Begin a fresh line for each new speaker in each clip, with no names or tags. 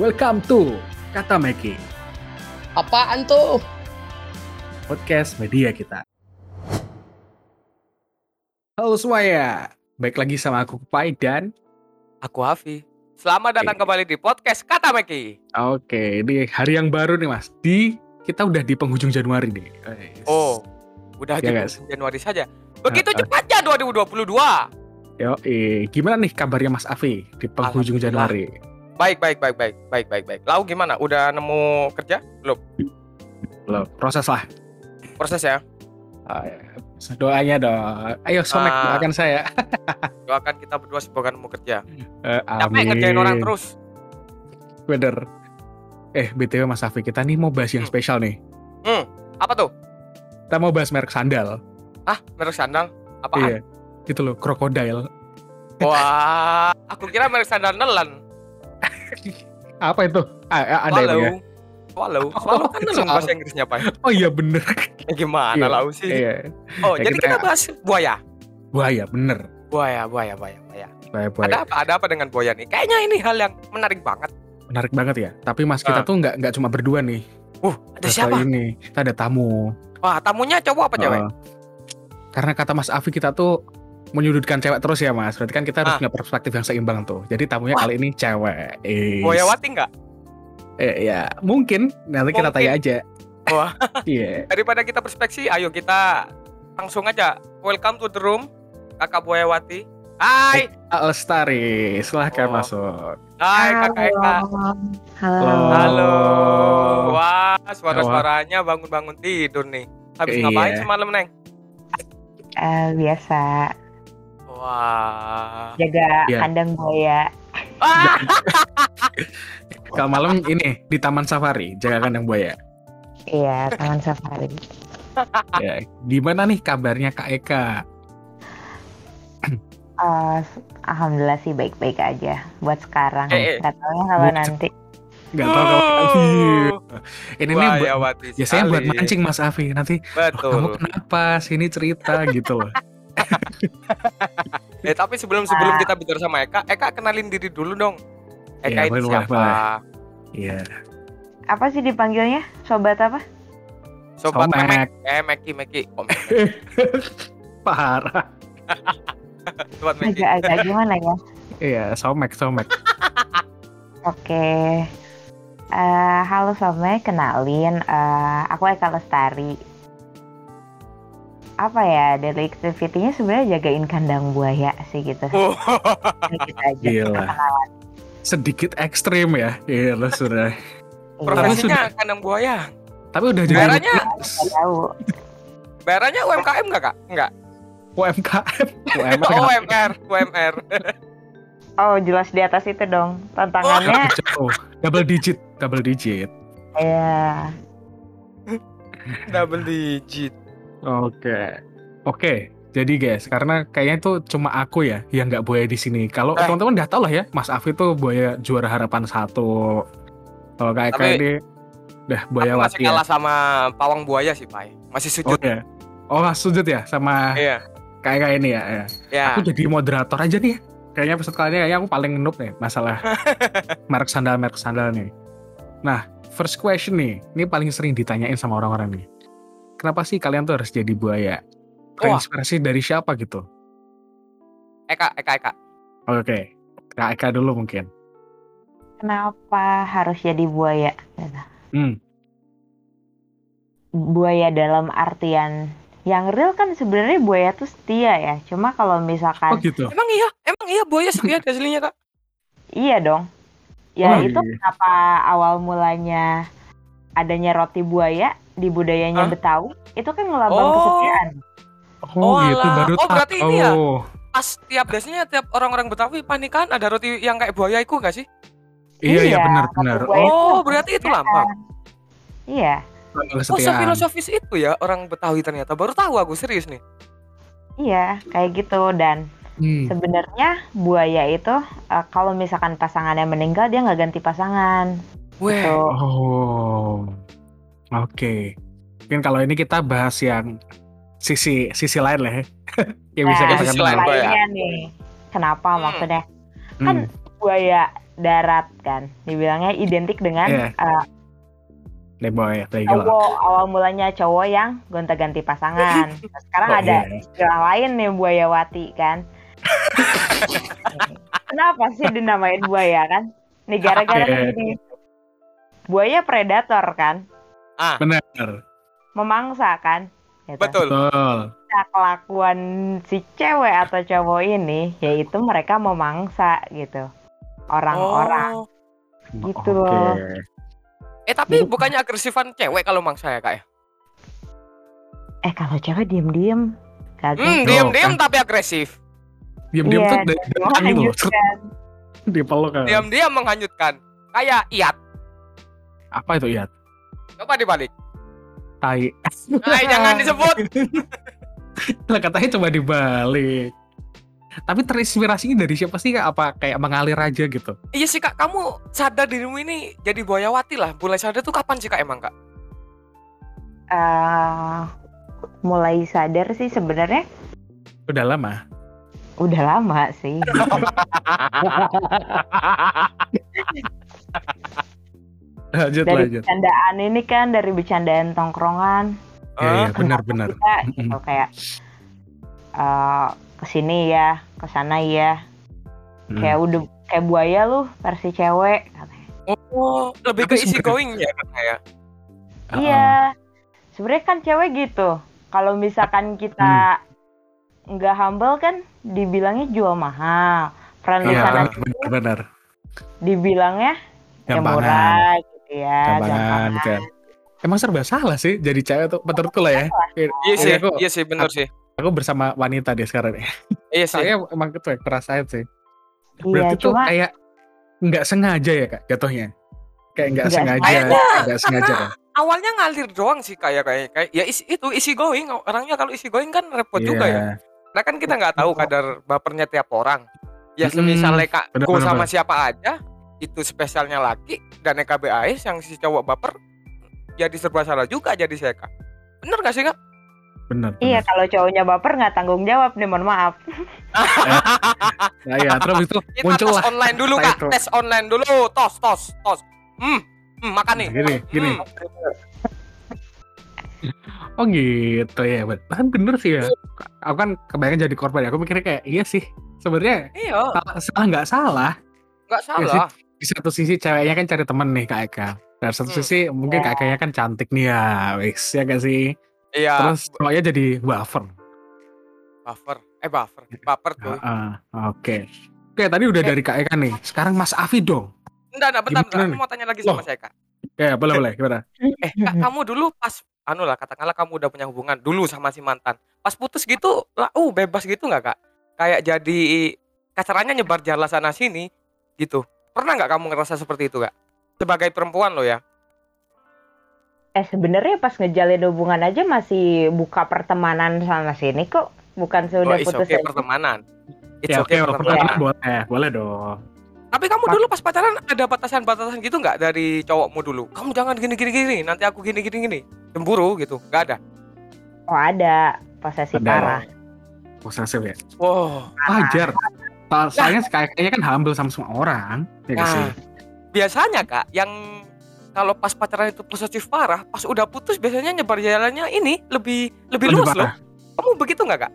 Welcome to Kata Making,
Apaan tuh?
podcast media kita. Halo semuanya, baik lagi sama aku Kupai dan
Aku Hafi. Selamat datang kembali di podcast Kata Meki.
oke, ini hari yang baru nih Mas. Di kita udah di penghujung Januari nih. Yes.
Oh, udah
Iya,
jadi
guys.
Januari saja. Begitu
Ah, ah.
cepatnya 2022.
Yo, eh, gimana nih kabarnya Mas Afi di penghujung
Alhamdulillah.
Januari?
Baik, baik, baik, baik, baik, baik, baik. Lalu gimana? Udah nemu kerja?
Loh, proses lah.
Proses ya.
Ah, Doanya dong. Ayo somek
Ah.
doakan saya.
Doakan kita berdua semoga nemu kerja.
Eh,
Capek
amin.
ngerjain orang terus.
Bener. Eh, BTW Mas Afi, kita nih mau bahas yang
Hmm.
spesial nih.
Apa tuh?
Kita mau bahas merek sandal.
Ah, merek sandal? Apaan?
Iya. Gitu loh, krokodil.
Wah, aku kira merek sandal nelan.
Apa itu? Ah, ah, ada itu
Swallow.
ya.
Swallow. Swallow kan nelan
Swallow.
bahasa Inggrisnya, Pak.
Oh iya bener.
Ya gimana
Iya.
lau sih?
Iya.
Oh,
Ya,
jadi
kita-
kita bahas buaya.
Buaya bener.
Buaya, buaya, buaya, buaya.
Buaya,
Ada
buaya.
apa? Ada apa dengan buaya nih? Kayaknya ini hal yang menarik banget.
Menarik banget ya. Tapi Mas kita
Ah.
tuh nggak nggak cuma berdua nih.
Uh, ada
Terus
siapa?
kali Ini kita ada tamu.
Wah, tamunya cowok apa cewek?
Heeh. karena kata Mas Afi kita tuh menyudutkan cewek terus ya Mas. Berarti kan kita harus
Ah.
punya perspektif yang seimbang tuh. Jadi tamunya
Wah.
kali ini cewek. Is.
Buayawati nggak?
Eh, ya mungkin nanti kita
Mungkin.
tanya aja.
Wah.
Iya.
Daripada kita perspeksi, ayo kita langsung aja. Welcome to the room, kakak Buayawati. Hai,
Al Lestari, silahkan
Oh.
masuk.
hai kakak Eka.
Halo.
Halo.
Halo.
Wah, suara-suaranya bangun-bangun tidur nih. Habis
Iya.
ngapain semalam, Neng?
Eh, biasa
Wah.
jaga
Iya.
kandang ya. buaya.
Ah,
Kalau malam ini di Taman Safari, jaga kandang buaya.
Iya, taman safari.
Ya, gimana nih kabarnya Kak Eka?
Eh, Alhamdulillah sih baik-baik aja buat sekarang.
Eh, eh.
Gak tau ya kalau
Buat-
nanti.
Gak tau kalau
Uh,
ini nih buat,
Buayawati
biasanya buat
ya, sekali.
mancing Mas Afi nanti "Loh, kamu
Betul.
kenapa sini cerita gitu loh.
Eh tapi
Ah.
sebelum sebelum kita bicara sama Eka, Eka kenalin diri dulu dong.
Iya,
Eka ini
boleh,
siapa?
boleh, Iya.
Apa sih dipanggilnya? Sobat apa?
Sobat
Somek.
Memek. Eh Meki Meki. Oh, Mek.
Parah.
Sobat Meki.
Agak-agak gimana ya?
Iya, somek somek.
Oke. Eh, halo semuanya, kenalin. eh, aku Eka Lestari. Apa ya, daily activity-nya sebenarnya jagain kandang buaya sih gitu.
Oh,
Gitu aja.
Gila. Sedikit ekstrim ya. Iya, lo sudah.
Iya.
profesinya kandang buaya.
Tapi udah jadi
Bayarannya
Nggak tahu.
bayarannya UMKM enggak, Kak? Enggak.
UMKM. UMKM.
Oh, UMR, UMR.
Oh, jelas di atas itu dong. Tantangannya
Oh,
ya.
double digit, double digit.
ya
Double digit.
Oke. Oke. Jadi guys, karena kayaknya itu cuma aku ya yang nggak buaya di sini. Kalau
Eh.
teman-teman udah tau lah ya, Mas Afi tuh buaya juara harapan satu. Kalau kayak
Tapi-
kayak ini udah buaya
Aku masih
mati ya.
kalah sama pawang buaya sih, Pai. Masih
Oh
sujud.
ya. Oh Mas sujud ya sama
Iya.
kayak kayak ini ya. ya.
Ya.
Aku jadi moderator aja nih. ya. Kayaknya episode kali ini kayaknya aku paling noob nih masalah merek sandal merek sandal nih. Nah, first question nih, ini paling sering ditanyain sama orang-orang nih. Kenapa sih kalian tuh harus jadi buaya?
Wah.
Terinspirasi dari siapa gitu?
Eka, Eka, Eka.
Oke, Kak Eka dulu mungkin.
kenapa harus jadi buaya? Gitu.
Hmm,
Buaya dalam artian yang real kan sebenarnya buaya tuh setia ya. Cuma kalau
oh
misalkan
gitu.
Emang iya, emang iya buaya setia di aslinya, Kak.
iya dong. Ya
Oh,
itu
iya.
kenapa awal mulanya adanya roti buaya di budayanya
Hah?
Betawi itu kan ngelambang
Oh.
kesetiaan.
Oh, gitu
alah.
baru
Oh, berarti ini ya?
tahu.
Pas tiap biasanya tiap orang-orang Betawi panikan ada roti yang kayak buaya itu enggak sih?
Iya, iya
Iya, roti
benar-benar.
buaya.
Oh,
Oh, berarti itu lambang.
Iya,
lambang
Oh,
kesetiaan.
sefilosofis itu ya orang Betawi ternyata. Baru tahu aku serius nih.
iya kayak gitu dan
Hmm.
sebenarnya buaya itu eh, kalau misalkan pasangannya meninggal dia nggak ganti pasangan.
Weh,
Gitu.
Oh, oke. Mungkin kalau ini kita bahas yang sisi sisi lain lah ya. yang bisa
Nah,
kita
sisi
kenal.
lain. Pak, ya?
lainnya nih. Kenapa
Hmm.
maksudnya?
Hmm.
Buaya darat kan. Dibilangnya identik dengan
Iya.
eh,
Playboy, playgirl.
cowok awal mulanya cowok yang gonta-ganti pasangan. Nah, Sekarang
Oh,
ada
iya.
istilah lain nih buayawati kan. Kenapa sih dinamain buaya kan? Nih gara-gara
Iya.
ini. Buaya predator kan,
Bener.
memangsa kan. Gitu.
Betul.
Betul.
Nah, kelakuan si cewek atau cowok ini yaitu mereka memangsa gitu orang-orang
Oh.
Gitu
Oke.
loh.
Eh
Jadi-
tapi bukannya agresifan cewek kalau mangsa ya kak ya?
eh kalau cewek diem-diem
Hmm,
kagak
Kan-
diam-diam tapi agresif.
Diam-diam
Iya,
tuh dari
Wah,
belakang gitu loh.
lanjutkan.
Dipeluk kan.
Diam-diam menghanyutkan. Kayak iat.
Apa itu ya?
Coba dibalik.
Tai.
Ay, jangan disebut.
Lah katanya coba dibalik. Tapi terinspirasinya dari siapa sih? Kak? Apa kayak mengalir aja gitu?
Iya sih kak, kamu sadar dirimu ini jadi buayawati lah. Mulai sadar tuh kapan sih kak emang kak?
Eh, mulai sadar sih sebenarnya
Udah lama.
udah lama sih
Lanjut
dari
lanjut.
bercandaan ini kan dari bercandaan tongkrongan
Iya iya,
Hah?
benar
kenapa
benar. Mm,
kita
Mm-mm.
gitu kayak eh kesini ya kesana ya
mm.
kayak udah kayak buaya lu versi cewek katanya.
Oh, lebih
Tapi
ke easy
sebenarnya-
going ya kak ya?
Ah,
iya sebenarnya kan cewek gitu kalau misalkan kita nggak humble kan dibilangnya jual
ah.
mahal friend
Iya
sana
benar benar.
dibilangnya ya
Gampangan.
murah gitu ya
Gampangan
gampangan.
kan. Emang serba salah sih jadi cewek tuh menurutku lah ya.
Iya sih,
aku-
iya sih, bener sih.
Aku bersama wanita deh sekarang.
Iya sih.
Saya emang itu ya, perasaan sih.
iya
Berarti tuh
cuma
kayak nggak sengaja ya kak jatuhnya. Kayak nggak
Nggak
sengaja,
sengaja.
nggak sengaja. Kak.
Awalnya ngalir doang sih kayak kayak kayak ya isi- itu easy going. Orangnya kalau easy going kan repot
Iya.
juga ya. Nah kan kita nggak tahu kadar bapernya tiap orang. Ya
Mm-mm.
misalnya kak
Benar,
go
benar,
sama siapa aja itu spesialnya laki dan EKBAS yang si cowok baper jadi serba salah juga jadi saya kak. Bener gak sih kak?
Benar.
iya kalau cowoknya baper nggak tanggung jawab nih mohon maaf
benar. Nah, iya, terus itu
Kita
muncul
tes
lah.
online dulu
Nah,
kak,
itu.
tes online dulu, tos tos tos. Hmm, hmm makan nih.
Gini, gini.
Hmm.
Oh gitu ya, bener. Kan bener sih ya. Aku kan kebayang jadi korban ya. Aku mikirnya kayak iya sih. Sebenarnya
Iya,
salah salah nggak salah.
nggak
Iya sih.
salah.
Di satu sisi ceweknya kan cari temen nih kak Eka. Dari satu
Hmm.
sisi mungkin
Ya.
kak Ekanya kan cantik nih ya, wis ya gak sih.
Iya.
Terus cowoknya jadi buffer.
Buffer, eh buffer, baper tuh.
Heeh, Oke. Oke tadi udah
Oke.
dari kak Eka nih. Sekarang Mas Afi dong.
Enggak, enggak, bentar, bentar.
Gimana
Aku
nih?
mau tanya lagi sama
Loh.
saya, Kak.
Ya boleh boleh gimana?
Eh, Kak, kamu dulu pas anu lah katakanlah kamu udah punya hubungan dulu sama si mantan. Pas putus gitu, lah uh bebas gitu nggak, Kak? Kayak jadi kasarannya nyebar jala sana sini gitu. Pernah nggak kamu ngerasa seperti itu, Kak? Sebagai perempuan lo ya.
eh sebenarnya pas ngejalin hubungan aja masih buka pertemanan sana sini kok bukan
Oh,
sudah
it's
putus
okay
ya? aja.
pertemanan. It's
Ya oke
okay,
kalau pertemanan
pertemanan.
boleh boleh dong.
Tapi kamu dulu pas pacaran ada batasan-batasan gitu nggak dari cowokmu dulu? Kamu jangan gini-gini gini, nanti aku gini-gini gini. Cemburu gitu, nggak ada.
oh ada posesif
Ada.
parah
Posesif ya.
Wow.
Wajar. So- Soalnya kak Ekanya kan humble sama semua orang. Ya gak sih.
Nah, biasanya kak, yang kalau pas pacaran itu positif parah, pas udah putus biasanya nyebar jalannya ini lebih lebih,
Lebih
luas
parah.
loh. Kamu begitu nggak kak?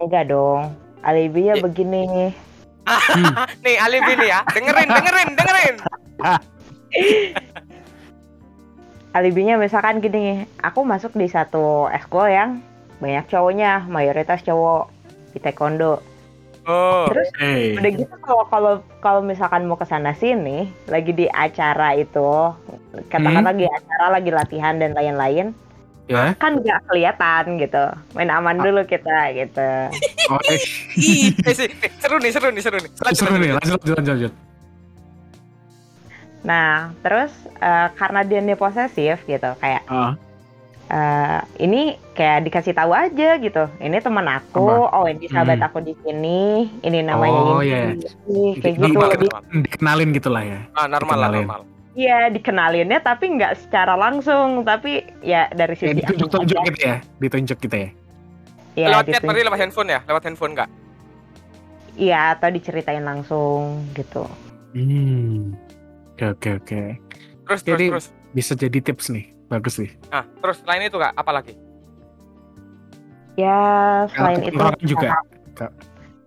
enggak dong alibinya
Ya.
begini
Nih alibi nih ya, dengerin dengerin dengerin.
alibinya misalkan gini aku masuk di satu ekskul yang banyak cowoknya mayoritas cowok di taekwondo
Oh,
Hey.
udah gitu kalau kalau kalau misalkan mau ke sana sini lagi di acara itu katakan lagi acara lagi latihan dan lain-lain
Ya.
kan nggak kelihatan gitu main aman dulu kita gitu
Oh, eh.
ih, eh, sih, nih, seru nih seru nih seru nih. Lanjut,
Seru nih,
lanjut.
lanjut lanjut lanjut. lanjut.
nah terus eh, karena dia ini posesif gitu kayak
Ah,
eh, ini kayak dikasih tahu aja gitu ini teman aku oh ini sahabat
Hmm.
aku di sini ini namanya
Oh,
ini,
iya.
ini, kayak
Jadi
gitu
makin-
lebih
dikenalin gitu lah ya.
Ah, normal lah
Dikenalin.
normal.
iya dikenalinnya tapi nggak secara langsung tapi ya
Ya,
dari sisi aku
ditunjuk-tunjuk
aja.
gitu ya, ditunjuk gitu ya.
Iya,
lewat chat
ditunjuk.
berarti lewat handphone ya, lewat handphone nggak?
Iya, atau diceritain langsung gitu.
Hmm. Oke oke oke.
Terus
Jadi-
terus terus.
Bisa jadi tips nih. Bagus nih.
Nah, terus selain itu Kak, apa lagi?
ya selain
Kalau
itu nah,
ketularan juga.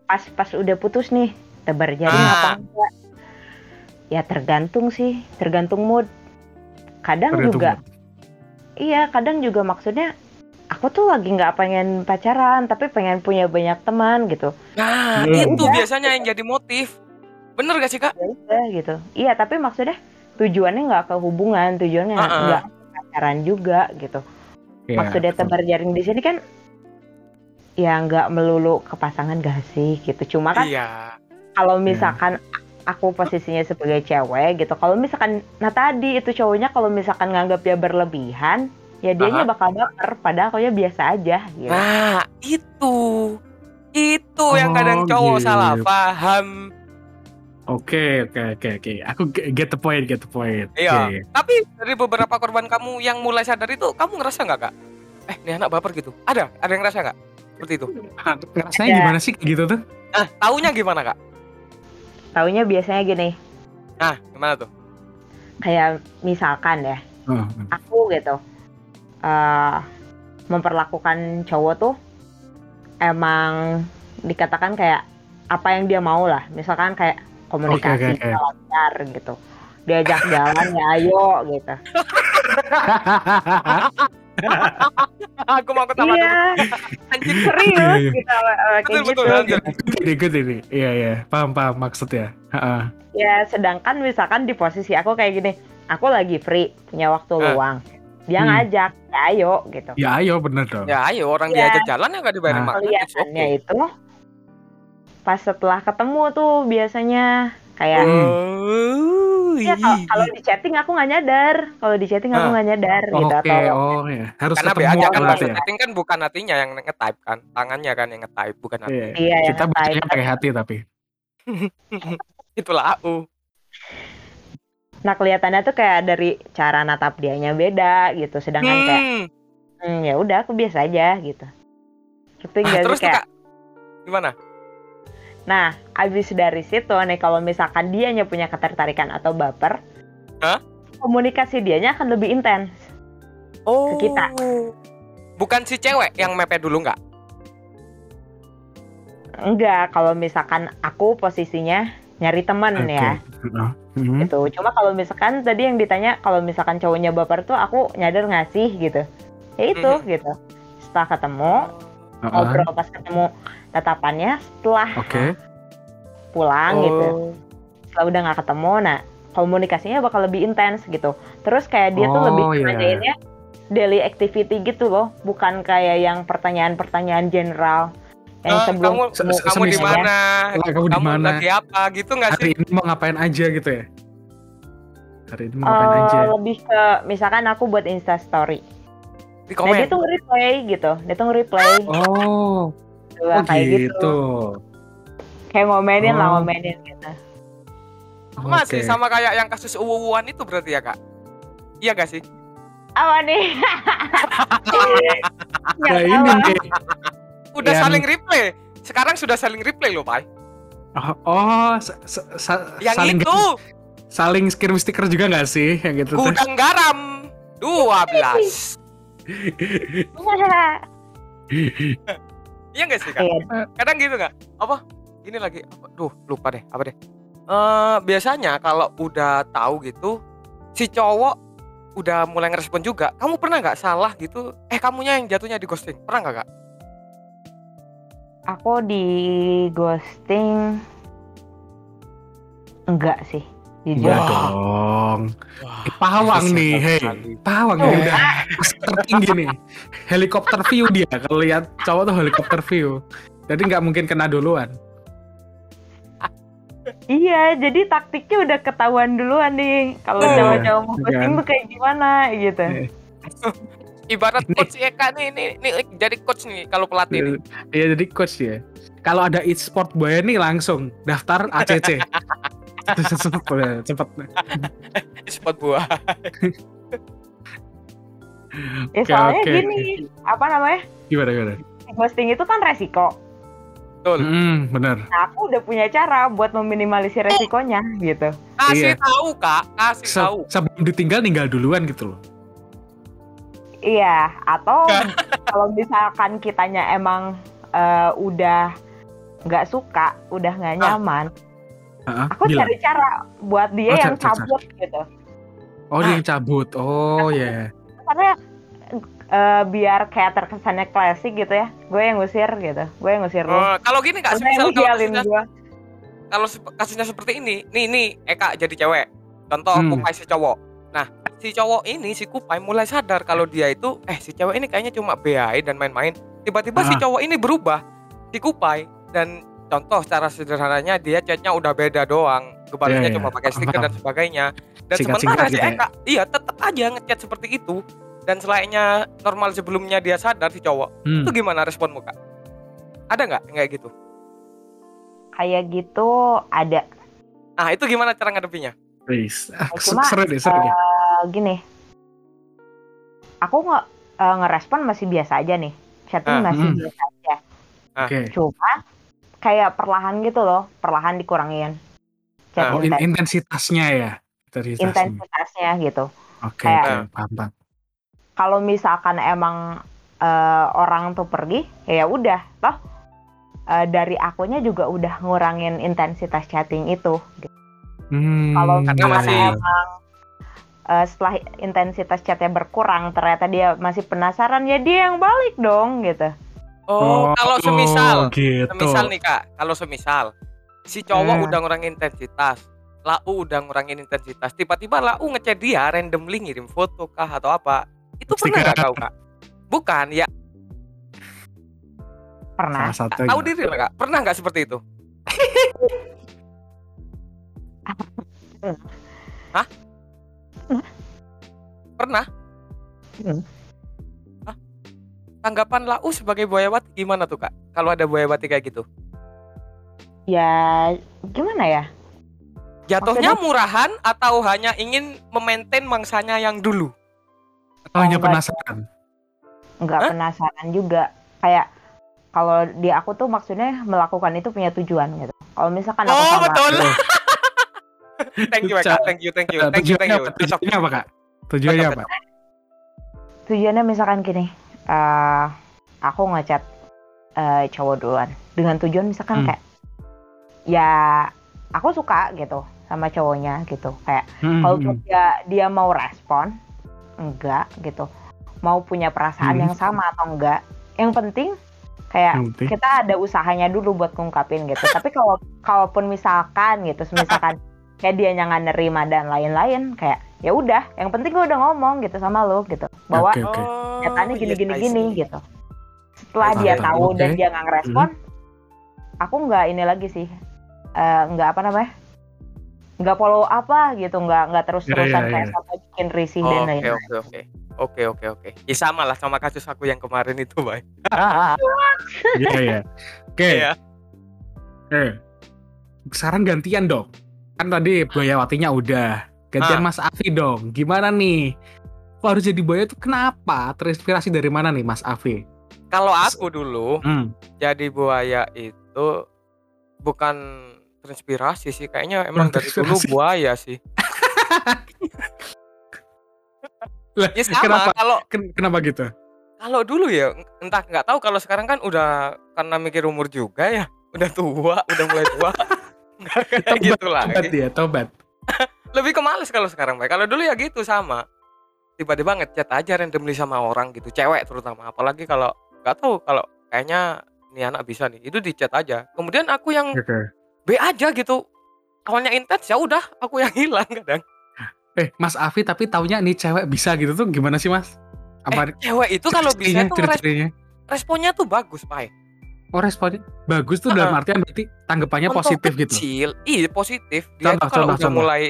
pas pas udah putus nih tebar jaring
Ah.
apa enggak ya tergantung sih tergantung mood kadang
Tergantung
juga iya kadang juga maksudnya aku tuh lagi nggak pengen pacaran tapi pengen punya banyak teman gitu
Nah,
Hmm.
itu
Udah.
biasanya yang jadi motif. Bener gak sih Kak?
ya udah gitu iya tapi maksudnya tujuannya nggak ke hubungan tujuannya
Ah, ah.
nggak ke pacaran juga gitu
Iya,
maksudnya
betul.
tebar jaring di sini kan ya nggak melulu ke pasangan gak sih gitu cuma kan
Iya.
kalau misalkan aku posisinya sebagai cewek gitu kalau misalkan nah tadi itu cowoknya kalau misalkan nganggap dia berlebihan ya dianya bakal baper padahal aku biasa aja gitu
Nah, itu. Itu yang kadang
Oh,
cowok
gitu.
salah paham.
Oke, oke, oke, oke. Aku ge- get the point, get the point.
Iya.
Oke.
Tapi dari beberapa korban kamu yang mulai sadar itu, kamu ngerasa nggak kak? Eh, ini anak baper gitu. Ada, ada yang ngerasa nggak? Seperti itu.
Ah, Ngerasanya
Ada.
gimana sih kayak gitu tuh?
Nah, taunya gimana kak?
taunya biasanya gini
Nah, gimana tuh?
kayak misalkan ya
Oh,
aku gitu eh memperlakukan cowok tuh emang dikatakan kayak apa yang dia mau lah misalkan kayak komunikasi
Oke, oke, oke.
lancar gitu diajak jalan ya ayo gitu
Aku mau ketawa
iya
dulu. Anjir.
Iya,
serius
iya.
gitu eh, kayak
Betul, betul,
gitu,
lanjut.
gitu.
Ini good ini. Iya, iya. Paham, paham maksudnya. Heeh.
ya sedangkan misalkan di posisi aku kayak gini aku lagi free punya waktu
Eh.
luang dia
Ah. Hmm.
ngajak ya ayo gitu
Ya ayo bener dong.
Ya ayo orang
Iya.
diajak jalan ya nggak dibayarin
Nah.
makan. it's
kelihatannya ya.
okay.
itu pas setelah ketemu tuh biasanya
Hmm.
kayak
Oh,
ya kalau kalau di chatting aku nggak nyadar kalau di chatting aku
Ah.
nggak nyadar
Oh,
gitu
Oke,
atau
oh ya. Harus
karena
ketemu
aja kan
berarti
bahasa
ya.
chatting kan bukan hatinya yang nge-type kan, tangannya kan yang nge-type bukan hati.
Iya.
Iya,
Kita
yang
bacanya
type.
pakai hati tapi.
Itulah aku.
nah kelihatannya tuh kayak dari cara natap dianya beda gitu sedangkan kayak
Hmm.
"Hmm, ya udah aku biasa aja gitu
Ah,
tapi nggak sih
terus tuh
kayak
kak, gimana?
Nah, abis dari situ nih kalau misalkan dianya punya ketertarikan atau baper,
Hah?
komunikasi dianya akan lebih intens.
Oh.
kita.
Bukan si cewek yang mepe dulu nggak?
Enggak, kalau misalkan aku posisinya nyari temen ya.
Heeh. Mhm.
Gitu. Cuma kalau misalkan tadi yang ditanya kalau misalkan cowoknya baper tuh aku nyadar nggak sih gitu. Ya itu
Mhm.
gitu. Setelah ketemu,
Heeh.
ngobrol pas ketemu tatapannya, setelah
Oke.
pulang gitu.
Oh.
Setelah udah nggak ketemu, nah komunikasinya bakal lebih intens gitu. Terus kayak dia tuh
Oh,
lebih
iya.
nanyainnya daily activity gitu loh, bukan kayak yang pertanyaan-pertanyaan general
Eh,
yang sebelum
kamu
Ah, Se- se-
kamu di
semisal-
mana?
ya. Lah, kamu di
Kamu
mana?
lagi apa gitu nggak
Hari
sih?
ini mau ngapain aja gitu ya? Hari ini mau ngapain aja?
eh, lebih ke misalkan aku buat Insta story.
Di
Nah, dia
komen.
tuh nge-replay gitu. Dia tuh nge-replay
Oh,
gitu,
oh
kayak
gitu.
gitu. Kayak ngomelin lah,
Oh.
ngomelin gitu.
Sama sih
Oke.
sama kayak yang kasus uwuan itu berarti ya kak? Iya gak sih?
Apa nih?
Nah,
Nggak
Ya
tahu.
ini nih.
Udah
Yang-
saling replay. Sekarang sudah saling replay loh Pak.
Oh, oh, sa- sa- sa-
Yang
saling
itu
saling kirim stiker juga nggak sih yang gitu? tuh?
gudang garam 12 Iya gak sih kak?
Iya.
Kadang gitu gak? Apa? Gini lagi apa? Duh lupa deh apa deh Eh Biasanya kalau udah tahu gitu Si cowok udah mulai ngerespon juga Kamu pernah gak salah gitu? Eh kamunya yang jatuhnya di ghosting Pernah gak kak?
Aku di ghosting enggak sih. Jujur.
Enggak Iya
Wah.
dong. Eh, Pawang
Bisa Oh,
nih, hei.
sekali.
Pawang ya udah
eh.
tertinggi nih. Helikopter view dia kalau lihat cowok tuh helikopter view. Jadi nggak mungkin kena duluan.
Iya, jadi taktiknya udah ketahuan duluan nih. Kalau
Iya,
cowok-cowok mau
kan.
ghosting tuh kayak gimana gitu.
Iya.
Ibarat
Ini-
coach Eka nih, nih, nih, jadi coach nih kalau pelatih nih.
Iya jadi coach ya. Kalau ada e-sport buaya nih langsung daftar ACC. cepet cepet. Iya.
Spot buah.
Ya
Oke,
soalnya
oke,
Ya, gini, apa namanya?
Gimana gimana?
Ghosting itu kan resiko.
betul
Mm, bener.
Nah, aku udah punya cara buat meminimalisir resikonya gitu.
kasih
Iya.
tahu kak kasih
Se-
tahu
sebelum ditinggal ninggal duluan gitu loh.
Iya, atau
Kan.
kalau misalkan kitanya emang eh, udah nggak suka, udah nggak
Ah.
nyaman,
Ha-ha,
aku
bilang.
cari cara buat dia
Oh,
yang
cari- cari-
cabut gitu.
Oh dia yang cabut. Oh ya.
Karena eh, biar kayak terkesannya klasik gitu ya, gue yang ngusir gitu, gue yang ngusir lu.
Oh,
Eh, kalau gini kak
Lu yang
misal kalau
ngehialin
kasusnya,
gue.
kalau sep- kasusnya seperti ini nih nih Eka jadi cewek contoh
Hmm.
Kupai si cowok nah si cowok ini si Kupai mulai sadar kalau dia itu eh si cewek ini kayaknya cuma BAI dan main-main tiba-tiba si
Ah.
cowok ini berubah si Kupai dan contoh secara sederhananya dia chatnya udah beda doang kebalasnya
Iya, iya.
cuma pakai
Paham,
stiker dan
paham.
sebagainya dan
Singkat-singkat
sementara si
gitu ya.
Eka iya tetap aja ngechat seperti itu dan selainnya normal sebelumnya dia sadar si cowok
Hmm.
itu gimana responmu kak ada nggak nggak gitu
Kayak gitu ada
ah itu gimana cara ngadepinnya
Please. Ah,
Nah,
se-
cuma,
seru deh, seru deh.
eh, gini. Aku nge eh, ngerespon masih biasa aja nih, chatting
Ah,
masih
mm.
biasa aja.
Oke.
Cuma kayak perlahan gitu loh, perlahan dikurangin chat
Ah,
Oh, in-
inten-
intensitasnya ya. Intensitasnya.
intensitasnya gitu.
Oke, oke,
Kayak-
paham, paham.
kalau misalkan emang eh, orang tuh pergi ya udah toh eh, dari akunya juga udah ngurangin intensitas chatting itu
Hmm,
kalau
Karena
misalkan
masih-
emang eh, setelah intensitas chatnya berkurang ternyata dia masih penasaran ya dia yang balik dong gitu
Oh, kalau
oh,
semisal,
gitu.
semisal nih kak, kalau semisal si cowok
Hmm.
udah ngurangin intensitas, lau udah ngurangin intensitas, tiba-tiba lau ngechat dia randomly ngirim foto kah atau apa? Itu pernah
Stiker.
nggak kau kak? Bukan, ya
pernah Nah,
salah satu.
tahu
gitu.
diri lah kak. Pernah nggak seperti itu? Hah? Pernah?
Hmm.
Hah? Tanggapan lau sebagai buayawati gimana tuh kak? Kalau ada buayawati kayak gitu?
ya gimana ya
Jatuhnya
Maksudnya-
murahan atau hanya ingin memaintain mangsanya yang dulu?
Atau hanya iya,
Oh,
penasaran.
nggak
Hah?
penasaran juga kayak kalau di aku tuh maksudnya melakukan itu punya tujuan gitu kalau
Oh,
misalkan aku sama
Oh, thank you, Eka. Thank you, thank you,
Nah,
thank you,
tujuannya
thank you.
apa?
Cocok.
Tujuannya apa, Kak? Tujuannya
Cocok,
apa?
tujuannya misalkan gini eh aku ngechat eh, cowok duluan dengan tujuan
Hmm.
misalkan kayak ya aku suka gitu sama cowoknya gitu kayak
Hmm,
kalau
hmm,
dia dia mau respon enggak gitu mau punya perasaan
Hmm.
yang sama atau enggak yang penting kayak
yang penting.
kita ada usahanya dulu buat ngungkapin gitu tapi kalau kalaupun misalkan gitu misalkan kayak dia yang nggak nerima dan lain-lain kayak ya udah yang penting gue udah ngomong gitu sama lo gitu bahwa
Oke, oke.
Oh,
nyatanya gini
yes,
gini
I see.
gini gitu
I
setelah dia
see.
tahu dan
Oke. Mm-hmm.
dia nggak ngerespon aku nggak ini lagi sih eh, nggak apa namanya nggak follow apa gitu nggak nggak terus terusan
Iya, iya,
kayak sampai bikin risih dan lain
Oke, oke, oke. Oke, oke, oke. Ya sama lah sama kasus aku yang kemarin itu, Bay.
Iya, iya. Oke,
Iya.
oke. Saran gantian dong. Kan tadi Buayawatinya udah. Gantian
Ah.
Mas Afi dong. Gimana nih? Kok harus jadi buaya itu kenapa? Terinspirasi dari mana nih Mas Afi?
Kalau aku dulu
Hmm.
jadi buaya itu bukan terinspirasi sih kayaknya emang dari dulu
Terinspirasi.
buaya sih.
Lah,
Ya sama
kenapa?
kalau
Ken- kenapa gitu?
kalau dulu ya entah nggak tahu kalau sekarang kan udah karena mikir umur juga ya udah tua udah mulai tua nggak kayak gitu
Tobat
lagi
dia, tobat.
lebih ke males kalau sekarang Bay. kalau dulu ya gitu sama tiba-tiba ngechat aja randomly sama orang gitu cewek terutama apalagi kalau nggak tahu kalau kayaknya ini anak bisa nih itu dicat aja kemudian aku yang
Oke.
B aja gitu awalnya intens ya udah aku yang hilang kadang
Eh, Mas Afi tapi taunya nih cewek bisa gitu tuh gimana sih, Mas? Apa
eh, cewek itu kalau bisa
ciri-cirinya,
tuh ngeres-
ciri-cirinya?
responnya tuh bagus pak ya.
Oh, responnya bagus tuh dalam artian berarti tanggapannya
Contoh
positif gitu.
kecil, iya positif. Dia
Contoh,
itu kalau
contoh,
udah
contoh.
mulai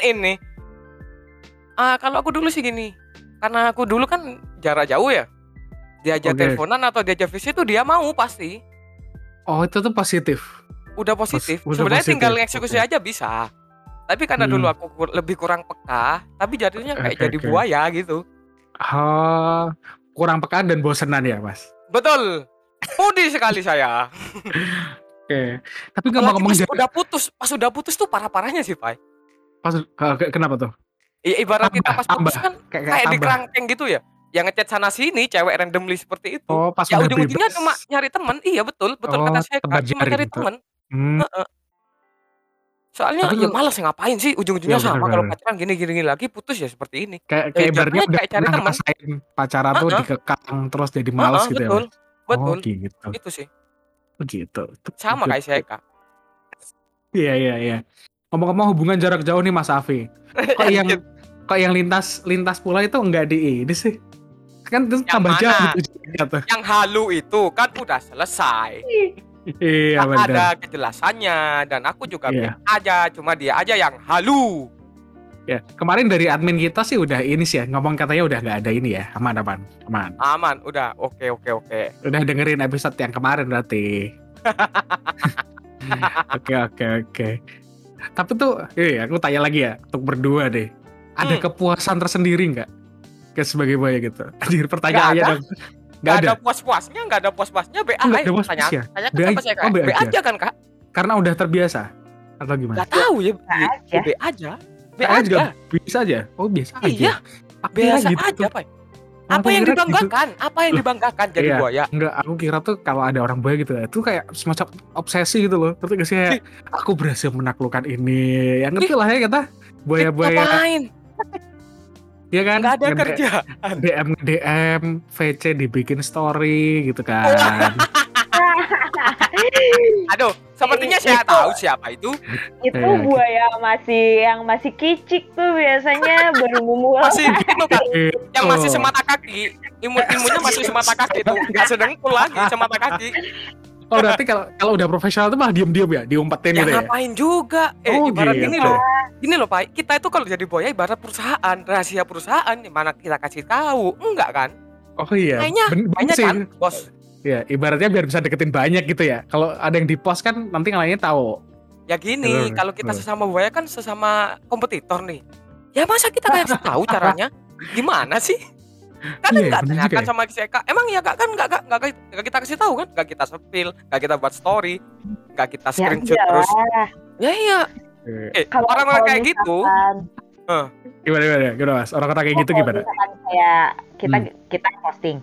ini. Ah, kalau aku dulu sih gini. Karena aku dulu kan jarak jauh ya. Diajak
Oke.
teleponan atau diajak visit itu dia mau pasti.
Oh, itu tuh positif.
Udah positif.
Pos- udah
Sebenarnya
positif,
tinggal eksekusi
oke.
aja bisa. Tapi karena
Hmm.
dulu aku kur- lebih kurang peka, tapi jadinya kayak
Oke,
jadi
oke.
buaya gitu.
Oh, Ah, kurang peka dan bosenan ya, Mas.
Betul. Pudi sekali saya.
Oke. Tapi nggak mau
Apalagi
ngomong
pas
jadi
udah putus, pas udah putus tuh parah-parahnya sih, Pak.
pas eh, ke- kenapa tuh?
Ya, ibarat
Tambah,
kita pas putus kan
Kayak,
kayak di
tambah.
kerangkeng gitu ya. Yang ngechat sana sini cewek randomly seperti itu.
Oh, pas
ya
udah
ujung-ujungnya
bebas.
cuma nyari teman. Iya betul, betul
Oh,
kata saya
tempat
Kak, cuma
jaring
nyari
gitu.
teman.
Hmm,
Soalnya
Tapi
ya
kalau-
malas ngapain sih ujung-ujungnya
Iya,
sama
benar,
kalau
benar.
pacaran gini-gini lagi putus ya seperti ini.
kayak kayak
jatuhnya
ibaratnya udah
kayak cari
pernah
teman.
ngerasain pacaran tuh
Heeh.
dikekang terus jadi males
Heeh,
gitu ya.
betul.
Mas?
Betul.
Oh, gitu.
Itu sih.
Gitu.
Sama kayak saya, Kak.
Iya, iya, iya. Ngomong-ngomong hubungan jarak jauh nih Mas Afi. Kok yang kok yang lintas lintas pulau itu enggak di ini sih? Kan itu
Yang
tambah
mana?
jauh gitu jadinya tuh.
yang halu itu kan udah selesai.
Iya,
Tak
benar.
ada kejelasannya dan aku juga
Iya.
bilang aja cuma dia aja yang halu.
Ya, kemarin dari admin kita sih udah ini sih ya, ngomong katanya udah nggak ada ini ya, aman aman, aman.
Aman, udah. Oke, oke, oke.
Udah dengerin episode yang kemarin berarti. Oke oke oke. Tapi tuh, iya aku tanya lagi ya, untuk berdua deh, ada
Hmm.
kepuasan tersendiri nggak? Kayak sebagai boy gitu. Anjir pertanyaannya
Nggak ada.
dong. Nggak
Nggak
ada.
ada puas-puasnya, nggak ada puas-puasnya. BA
Oh, nggak ada
aja
puas-puas
Ah, tanya.
ya?
Tanya
BA
kenapa saya
oh,
kak?
BA
BA
aja.
aja kan kak?
Karena udah terbiasa atau gimana?
Gak tahu ya.
Nah, aja.
BA aja. BA
Saya
aja.
juga bisa aja. Oh biasa aja.
Iya,
Aku kira
Biasa
gitu
aja
tuh.
apa?
Aku
Apa yang
kira gitu.
dibanggakan? Apa yang
Loh,
dibanggakan jadi ya,
iya.
buaya?
Enggak, aku kira tuh kalau ada orang boy gitu ya, itu kayak semacam obsesi gitu loh. Ngerti gak sih?
Iya.
Kayak, aku berhasil menaklukkan ini. Yang ngerti lah ya kata
Ih,
boya-boya.
Ngapain?
Ya kan?
Iya, Nggak ada
Nge-
kerja.
DM DM, VC dibikin story gitu kan.
Aduh, sepertinya
Itu-
saya tahu siapa Iya, itu.
itu
Iya,
buaya masih yang masih kicik tuh biasanya baru mungul
Masih gitu kan?
Gitu.
yang masih semata kaki imun imunnya masih semata kaki tuh nggak sedengkul lagi semata kaki
Oh berarti kalau kalau udah profesional tuh malah diem-diem ya, diumpetin
ya
gitu ya.
ngapain juga eh
Oh,
ibarat
gitu.
gini loh gini loh pak kita itu kalau jadi boya ibarat perusahaan rahasia perusahaan yang mana kita kasih tahu enggak kan
Oh iya.
Kayaknya
Ben- bener
banyak
sih.
kan bos
Ya, ibaratnya biar bisa deketin banyak gitu ya. Kalau ada yang di post kan nanti yang lainnya tahu.
ya
Betul,
gini kalau kita
betul.
sesama boya kan sesama kompetitor nih ya masa kita kasih tahu caranya gimana sih kan
Iya,
enggak
bener juga
tanyakan
ya.
sama si Eka emang ya kak kan enggak kak enggak, enggak kita kasih tahu kan enggak kita sepil enggak kita buat story enggak kita
ya
screenshot terus
iyalah
ya iya
Eh,
Eh,
Kalau-
orang-orang
kalau
kayak gitu,
misalkan-
Gimana gimana? Gimana Mas? Orang kata kayak gitu
Oh,
Kalau
gimana?
misalkan kayak kita kita posting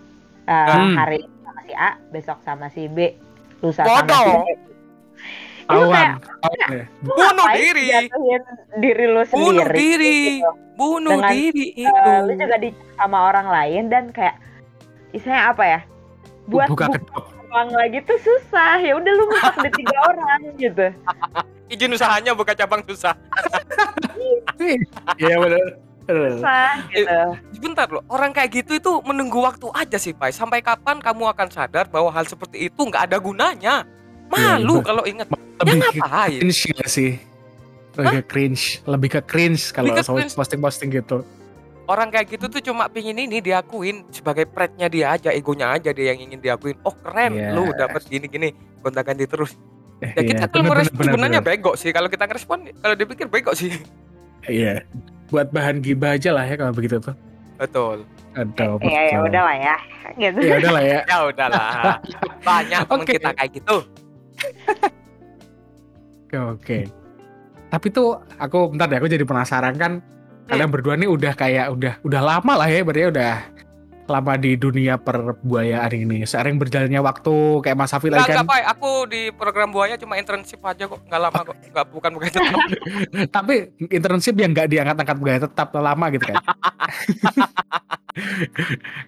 uh,
Hmm.
hari ini sama si A besok sama si B lusa
Bodoh.
sama si B Itu kayak
Awan. Awan
Iya,
ya.
lu
bunuh
ngapain
diri,
jatuhin diri lu sendiri
bunuh diri, Gitu. bunuh
Dengan,
diri
Eh,
itu.
lu juga di sama orang lain dan kayak istilahnya apa ya buat
buka
buka
kedok.
uang lagi tuh susah ya udah lu ngumpet di tiga orang gitu
Izin usahanya buka cabang susah.
Iya benar.
susah gitu
Sebentar loh, orang kayak gitu itu menunggu waktu aja sih, Pak. Sampai kapan kamu akan sadar bahwa hal seperti itu nggak ada gunanya? Malu
Iya,
kalau inget. Ya
Lebih ke
ngapain?
cringe gak sih? Lebih ke cringe, lebih ke cringe kalau
Lebih ke
soal
cringe.
posting-posting gitu.
Orang kayak gitu tuh cuma pingin ini diakuin sebagai pride-nya dia aja, egonya aja dia yang ingin diakuin. Oh keren,
Iya.
lu dapat gini-gini, gonta-ganti terus.
Eh,
Ya
iya,
kita kalau
benar,
merespon
benar, benar,
sebenarnya
benar.
bego sih. Kalau kita ngerespon, kalau dipikir bego sih.
Iya. Buat bahan gibah aja lah ya kalau begitu tuh.
Betul. Iya,
Aduh,
ya ya
betul.
udahlah ya gitu
Ya udah lah ya.
Ya udahlah. Banyak temen
Oke.
kita kayak gitu.
Oke, oke. Tapi tuh aku bentar deh, aku jadi penasaran kan kalian berdua nih udah kayak udah udah lama lah ya berarti udah lama di dunia perbuayaan ini. Seiring berjalannya waktu kayak Mas Hafi lagi
Nggak,
kan.
nggak, Pak. Aku di program buaya cuma internship aja kok. Nggak lama kok. Nggak, bukan bukan tetap.
Tapi internship yang nggak diangkat-angkat pegawai tetap lama gitu kan.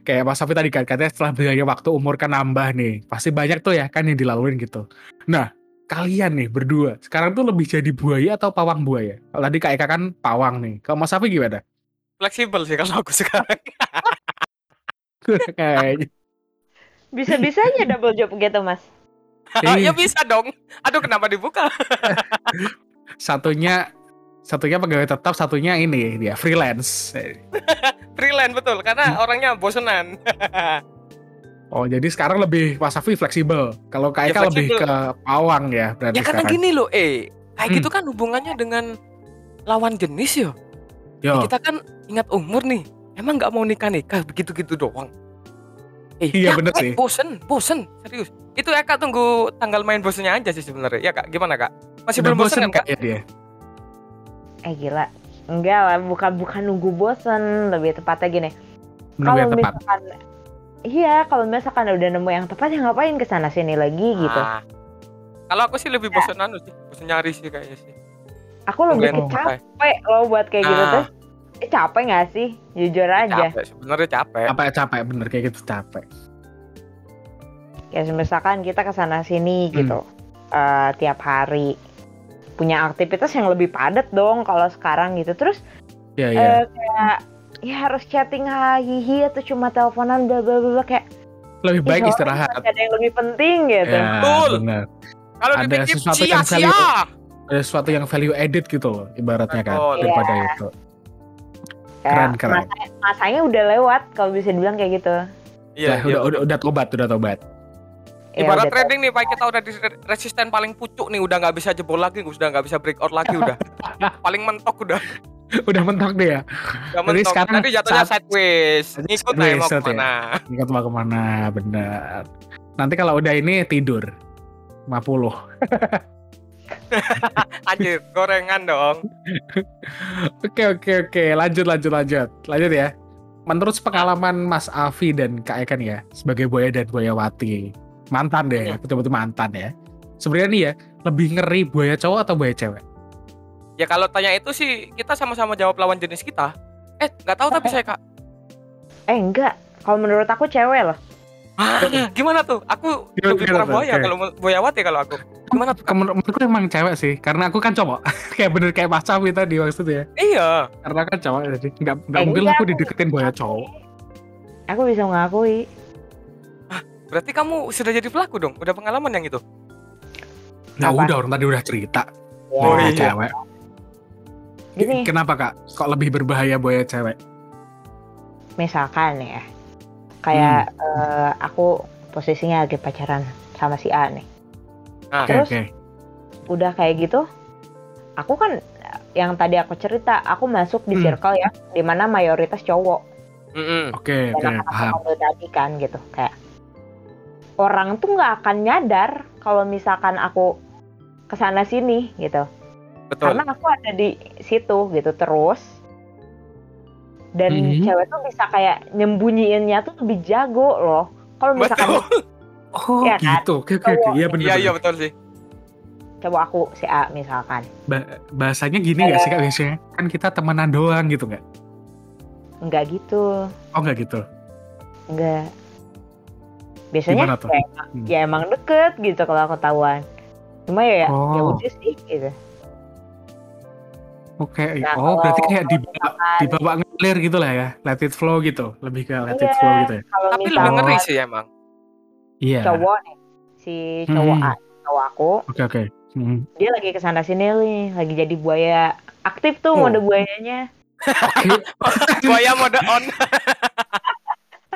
kayak Mas Hafi tadi kan katanya setelah berjalannya waktu umur kan nambah nih. Pasti banyak tuh ya kan yang dilaluin gitu. Nah, kalian nih berdua sekarang tuh lebih jadi buaya atau pawang buaya? Kalau tadi Kak Eka kan pawang nih. Kalau Mas Hafi gimana?
Fleksibel sih kalau aku sekarang.
Kayaknya.
bisa bisanya double job gitu mas
ya
Iya.
bisa dong. Aduh kenapa dibuka?
satunya satunya pegawai tetap, satunya ini dia freelance.
Freelance betul.
Iya.
Karena orangnya bosenan.
Oh, jadi sekarang lebih Mas Safi fleksibel. Kalau Kak
Ya,
Eka lebih
fleksibel.
ke pawang ya berarti
ya karena
sekarang.
gini loh. Eh kayak
Hmm.
gitu kan hubungannya dengan lawan jenis yo.
Yo,
Ya, kita kan ingat umur nih. Emang nggak mau nikah nikah begitu gitu doang. Eh,
Iya, bener sih.
capek, Bosen, bosen, serius. Itu ya kak tunggu tanggal main bosennya aja sih sebenarnya. Ya kak, gimana kak? Masih belum bosen kan kak?
ya dia?
eh gila enggak lah bukan bukan nunggu bosen lebih tepatnya gini
Menunggu yang tepat.
misalkan iya kalau misalkan udah nemu yang tepat ya ngapain kesana sini lagi gitu
Ah. Kalau aku sih
Ya.
lebih bosen anu sih, bosen nyari sih kayaknya sih.
aku lebih
Tungguin
ke
orang lain.
capek loh buat kayak gitu
Ah.
terus eh, capek nggak sih jujur aja
Capek, sebenarnya capek.
Capek capek bener kayak gitu capek.
ya misalkan kita kesana sini
Hmm.
gitu eh, tiap hari punya aktivitas yang lebih padat dong kalau sekarang gitu terus
Iya iya.
eh, kayak ya harus chatting hahihi atau cuma teleponan bla bla bla bla, kayak
Lebih
ih,
baik
soalnya
istirahat.
masih ada yang lebih penting gitu
Ya,
Betul.
bener.
Kalau
Ada
dipikir
sesuatu yang
sia-sia.
Ada sesuatu yang value added gitu loh ibaratnya kan
Betul. Iya.
daripada itu. Keren,
Ya,
keren.
Masanya, masanya udah lewat kalau bisa dibilang kayak gitu.
Iya,
Nah,
iya.
udah, udah udah tobat udah tobat.
Ya,
Ibarat
udah
trading nih, Pak kita udah di resisten paling pucuk nih, udah nggak bisa jebol lagi, udah nggak bisa breakout lagi udah. paling mentok udah.
udah mentok dia.
Udah
Jadi
mentok.
sekarang
Tadi jatuhnya
saat-
sideways. Ngikut aja
Sideways,
mau
saat ya.
kemana.
Ingat mau kemana, bener. Nanti kalau udah ini tidur. 50.
Anjir, gorengan dong.
Oke oke oke lanjut lanjut lanjut lanjut ya. Menurut pengalaman Mas Afi dan Kak Ekan ya sebagai Boya dan Boyawati mantan deh
Iya.
betul-betul mantan ya. Sebenarnya nih ya lebih ngeri buaya cowok atau buaya cewek?
Ya kalau tanya itu sih kita sama-sama jawab lawan jenis kita. Eh, nggak tahu tapi saya kak.
tobat. Eh enggak, kalau menurut aku cewek loh.
Ah, gimana tuh? Aku
Gimana,
lebih
gimana
parah
tuh?
boya
Oke.
kalau boyawati kalau aku. Gimana tuh? Kak?
Kamu menurutku emang cewek sih karena aku kan cowok kayak bener kayak Mas Afi tadi maksudnya
Iya.
karena kan cowok jadi nggak nggak
Eh,
mungkin lah Oh, iya,
enggak,
aku dideketin buaya cowok.
Aku bisa mengakui.
Berarti kamu sudah jadi pelaku dong. Udah pengalaman yang itu.
Ya
Apa?
udah orang tadi udah cerita
Oh,
buaya
iya.
cewek.
Gini,
Kenapa kak? Kok lebih berbahaya buaya cewek?
misalkan ya, kayak
Hmm.
eh, aku posisinya lagi pacaran sama si A nih.
Nah,
Oke
Terus?
oke.
Udah kayak gitu, aku kan eh, yang tadi aku cerita, aku masuk di
Hmm.
circle ya, dimana mayoritas cowok.
mm-mm.
Oke oke
Dan anak-anak
paham.
pondok tadi kan gitu kayak orang tuh nggak akan nyadar kalau misalkan aku kesana sini gitu
betul.
karena aku ada di situ gitu terus dan
Mhm.
cewek tuh bisa kayak nyembunyiinnya tuh lebih jago loh kalau misalkan
Betul.
Oh
Iya kan?
gitu oke oke oke
Cowok.
iya bener.
Iya,
bener.
iya betul sih.
coba aku si A misalkan
Ba- bahasanya gini nggak sih kak biasanya kan kita temenan doang gitu nggak
nggak gitu
oh nggak gitu
nggak biasanya
Gimana tuh?
ya, emang-
Hmm.
ya emang deket gitu kalau aku ketahuan cuma ya ya
Oh.
udah sih gitu
oke oh
Nah, kalau-
berarti kayak
kalau
dibawa dibawa ngalir gitu lah ya let it flow gitu lebih ke let it
Iya.
flow gitu ya
kalau
Tapi lebih
misalkan
ngeri sih emang.
iya
cowok nih si cowok
Hmm.
A, cowok aku
oke oke Hmm.
dia lagi kesana sini nih lagi jadi buaya aktif tuh
Oh.
mode buayanya
Oke,
Boya mode on.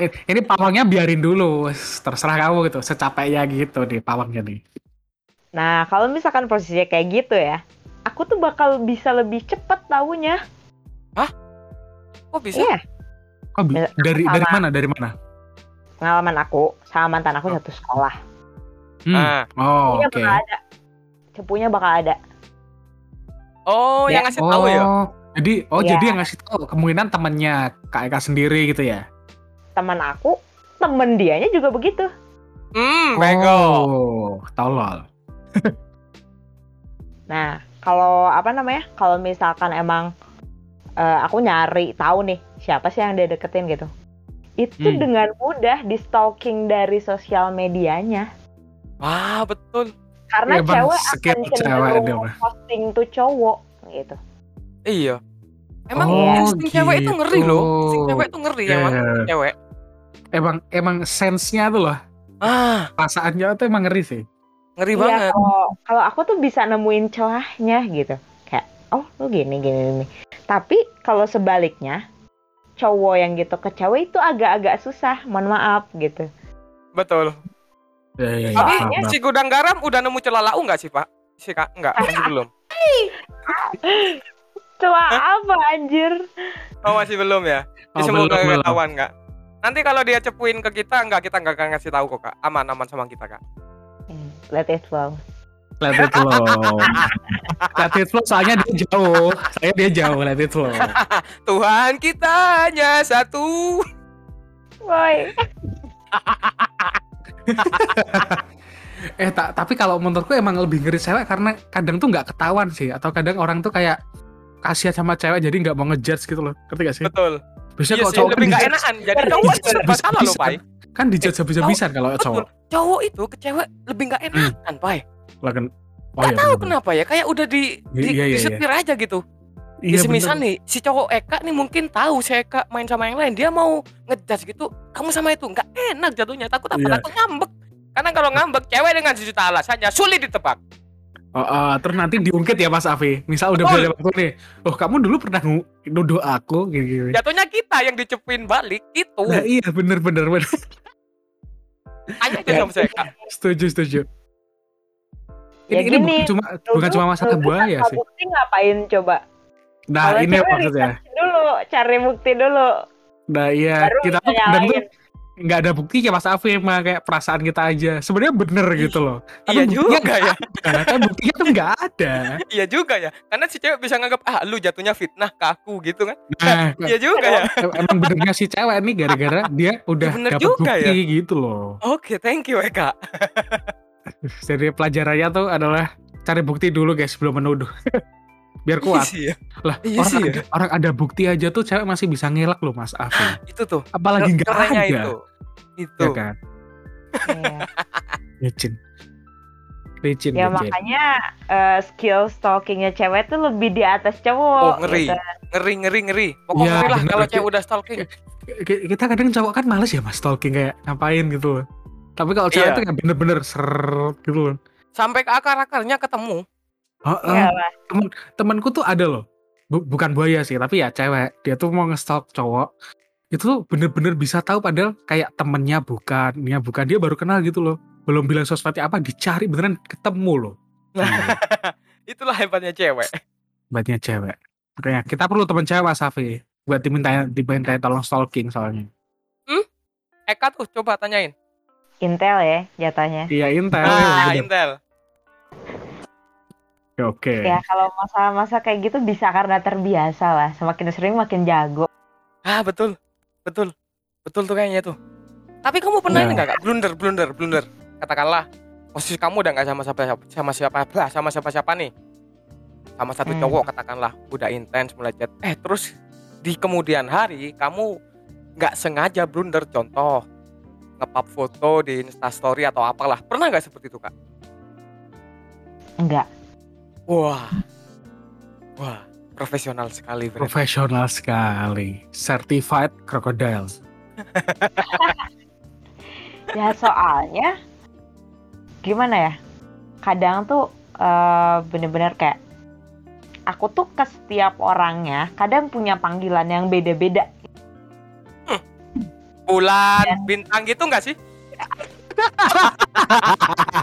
eh, ini pawangnya biarin dulu wes, terserah kamu gitu secapeknya gitu nih pawangnya nih
nah kalau misalkan posisinya kayak gitu ya aku tuh bakal bisa lebih cepet taunya
Kok bisa?
iya
Kok bi-
Eh,
dari
sama.
dari mana dari mana
pengalaman aku sama mantan aku satu sekolah
Hmm.
Ah.
oh
Cepunya
oke
bakal ada cepunya bakal ada
Oh,
Ya.
yang ngasih tahu ya.
oh jadi oh
Iya.
jadi yang ngasih tahu kemungkinan temannya kak Eka sendiri gitu ya
teman aku temen dianya juga begitu
Hmm, bego.
oh tolol
Nah, kalau apa namanya? Kalau misalkan emang eh, aku nyari tahu nih siapa sih yang dia deketin gitu. Itu
Hmm.
dengan mudah di stalking dari sosial medianya.
Wah, betul.
Karena
Iya, Bang,
cewek akan
skill cewek dia,
cenderung
Bang.
posting tuh cowok gitu.
Iya. Emang
Oh,
insting cewek itu ngeri
gitu.
loh. Insting cewek itu ngeri
Iya,
emang
iya, iya.
cewek.
emang emang sense-nya tuh loh
Ah,
perasaannya tuh emang ngeri sih
ngeri
Iya,
banget.
kalau kalau aku tuh bisa nemuin celahnya gitu. Kayak oh, lu gini gini gini. Tapi kalau sebaliknya cowok yang gitu ke cewek itu agak-agak susah, mohon maaf gitu.
Betul.
ya, ya,
Tapi iya
paham,
si gudang garam udah nemu celah lau nggak sih, Pak? Si Kak, enggak, masih belum.
Celah apa anjir?
Oh,
Oh, masih belum ya. Ini semoga ketahuan enggak. Nanti kalau dia cepuin ke kita, enggak kita enggak akan ngasih tahu kok kak. Aman aman sama kita kak.
Hmm, Let it flow.
Let it flow. Let it flow soalnya dia jauh. Saya dia jauh, let it flow.
Tuhan kita hanya satu.
Woi.
Eh ta- tapi kalau menurutku emang lebih ngeri cewek karena kadang tuh nggak ketahuan sih atau kadang orang tuh kayak kasihan sama cewek jadi nggak mau ngejudge gitu loh. Ngerti gak sih?
Betul.
Biasanya
Iya
kalau
sih,
cowok kan
lebih enggak
di-judge-
enakan. Jadi cowok itu serba
bisa-
salah loh, ya.
bisa.
Pai.
kan dijudge habis-habisan kalau
Betul.
cowok.
Cowok itu ke cewek lebih enggak enakan, Pai.
Lah kan Oh
Enggak
iya,
tahu
bener-bener.
kenapa ya, kayak udah di
Iya,
di,
iya, iya,
disetir aja gitu.
Iya,
ya semisal
bener.
nih si cowok Eka nih mungkin tahu si Eka main sama yang lain dia mau ngejas gitu kamu sama itu nggak enak jatuhnya takut apa
Iya.
takut ngambek karena kalau ngambek cewek dengan sejuta alasannya sulit ditebak
Oh, oh, terus nanti diungkit ya Mas Afi. Misal udah
Betul.
beda waktu nih. Oh, kamu dulu pernah ngu- nuduh aku gini-gini.
jatuhnya kita yang dicepuin balik itu
Nah, iya bener bener bener.
hanya
iya.
itu sama si Eka
Setuju setuju.
Ya
Ini, ini bukan
gini,
cuma bukan
Dulu-
cuma masalah
dulu kan
buaya
tanpa
sih.
Bukti ngapain coba?
Nah
Kalau
ini
cewek kan.
maksudnya.
research Dulu cari bukti dulu.
Nah iya
Baru
kita tuh kadang tuh
nyalain.
nggak ada buktinya Mas Afi emang kayak perasaan kita aja. Sebenarnya bener gitu loh.
iya
Tapi buktinya
juga ya
Nah, kan buktinya tuh nggak ada.
iya juga ya karena si cewek bisa nganggap ah lu jatuhnya fitnah ke aku gitu kan
Nah
iya juga ya
em- emang benernya si cewek nih gara-gara dia udah
bener
dapet
juga
bukti gitu loh.
oke thank you Eka
Jadi pelajarannya tuh adalah cari bukti dulu guys sebelum menuduh. Biar kuat.
Iya sih ya.
lah
Iya
orang,
sih ya.
ada, orang ada bukti aja tuh cewek masih bisa ngelak loh mas Afi
itu tuh
apalagi nggak ada
kerennya
ya
Ah, itu itu
kan
Iya.
licin licin
Ya
licin.
makanya eh, skill stalkingnya cewek tuh lebih di atas cowok.
Oh, ngeri.
gitu.
ngeri ngeri ngeri pokoknya
Iya,
ngeri lah
bener. Iya.
kalau cewek udah stalking
Ki- kita kadang cowok kan males ya mas stalking kayak ngapain gitu loh tapi kalau cewek
Iya.
tuh kayak bener-bener ser gitu loh
sampai ke akar akarnya ketemu
Heeh.
Iya lah.
temanku tuh ada loh Bu- bukan buaya sih tapi ya cewek dia tuh mau ngestalk cowok itu tuh bener-bener bisa tahu padahal kayak temennya bukan dia bukan dia baru kenal gitu loh belum bilang sosmednya apa dicari beneran ketemu loh Gila,
itulah hebatnya cewek
hebatnya cewek makanya kita perlu teman cewek mas Safi buat diminta diminta tolong stalking soalnya
Eka Eh, tuh coba tanyain
Intel ya jatahnya.
iya intel
ah
bener.
Intel
Iya. oke
Ya kalau masalah-masalah kayak gitu bisa karena terbiasa lah. Semakin sering makin jago.
ah betul betul betul tuh kayaknya tuh tapi kamu pernah
Iya.
ini nggak kak blunder blunder blunder katakanlah posisi kamu udah nggak sama siapa sama siapa blah, sama siapa siapa nih sama satu
Hmm.
cowok katakanlah udah intens mulai chat eh terus di kemudian hari kamu nggak sengaja blunder contoh ngepap foto di instastory atau apalah pernah nggak seperti itu kak
Enggak.
Wah. Wah, profesional sekali, Fred.
profesional sekali certified crocodile
Ya soalnya gimana ya? Kadang tuh eh, bener-bener kayak aku tuh ke setiap orangnya kadang punya panggilan yang beda-beda.
Bulan, bintang gitu nggak sih?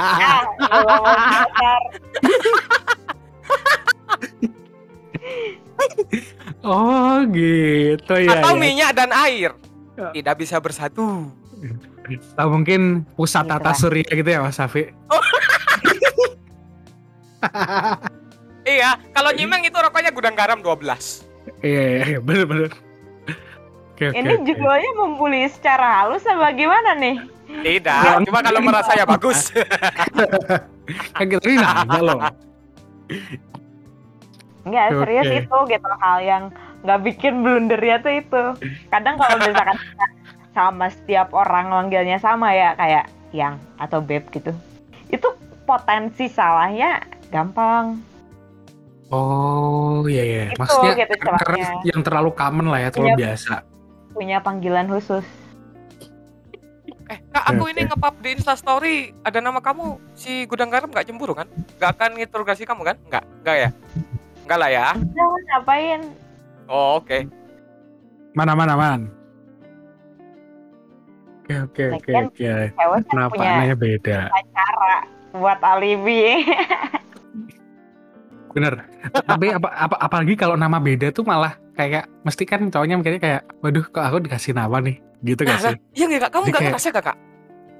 Ah, ya Allah, dasar.
oh gitu ya,
Atau
ya.
minyak dan air
Ya.
tidak bisa bersatu.
Atau mungkin pusat
Gitu
tata
lah.
surya gitu ya Mas Safi.
Iya, kalau nyimeng itu rokoknya gudang garam 12.
Iya, iya, iya, bener-bener. Oke, oke.
Ini
oke.
judulnya membuli secara halus apa gimana nih?
Tidak, cuma kalau merasa ya bagus.
Eh, Kan kita ini nanya loh.
Enggak,
Oke.
serius itu gitu hal yang nggak bikin blundernya tuh itu. Kadang kalau misalkan kita sama setiap orang manggilnya sama ya kayak yang atau beb gitu. Itu potensi salahnya gampang.
Oh, iya, iya.
Gitu,
Maksudnya
gitu
karena
celakanya.
yang terlalu common lah ya, terlalu
Iya.
biasa.
Punya panggilan khusus.
Eh, Kak, aku ini ngepap di instastory ada nama kamu si gudang garam nggak cemburu kan? Nggak akan nginterogasi kamu kan? Nggak, nggak ya? Nggak lah ya.
Udah lah, ngapain?
Oh, oke.
Mana, mana, man. Oke, oke, oke,
Lagian-
oke.
Cewek kan
Kenapa
Nah, punya
anaknya beda?
cara buat alibi.
Bener. Tapi apa, apa, apalagi kalau nama beda tuh malah kayak mesti kan cowoknya mikirnya kayak, waduh, kok aku dikasih nama nih? gitu gak
Nah,
sih?
Iya nggak kak, kamu
Jadi
nggak
kayak-
ngerasa kakak?